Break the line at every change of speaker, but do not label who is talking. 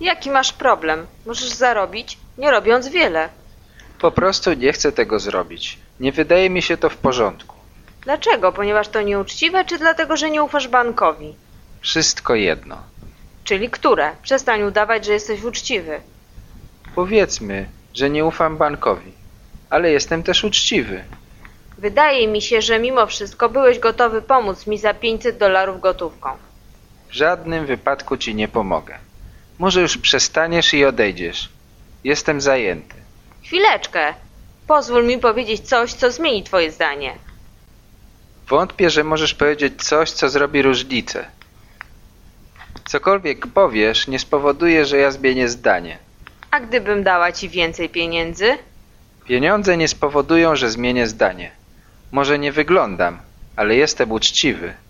Jaki masz problem? Możesz zarobić, nie robiąc wiele.
Po prostu nie chcę tego zrobić. Nie wydaje mi się to w porządku.
Dlaczego? Ponieważ to nieuczciwe, czy dlatego, że nie ufasz bankowi?
Wszystko jedno.
Czyli które? Przestań udawać, że jesteś uczciwy.
Powiedzmy, że nie ufam bankowi, ale jestem też uczciwy.
Wydaje mi się, że mimo wszystko byłeś gotowy pomóc mi za 500 dolarów gotówką.
W żadnym wypadku ci nie pomogę. Może już przestaniesz i odejdziesz. Jestem zajęty.
Chwileczkę. Pozwól mi powiedzieć coś, co zmieni twoje zdanie.
Wątpię, że możesz powiedzieć coś, co zrobi różnicę. Cokolwiek powiesz, nie spowoduje, że ja zmienię zdanie.
A gdybym dała ci więcej pieniędzy?
Pieniądze nie spowodują, że zmienię zdanie. Może nie wyglądam, ale jestem uczciwy.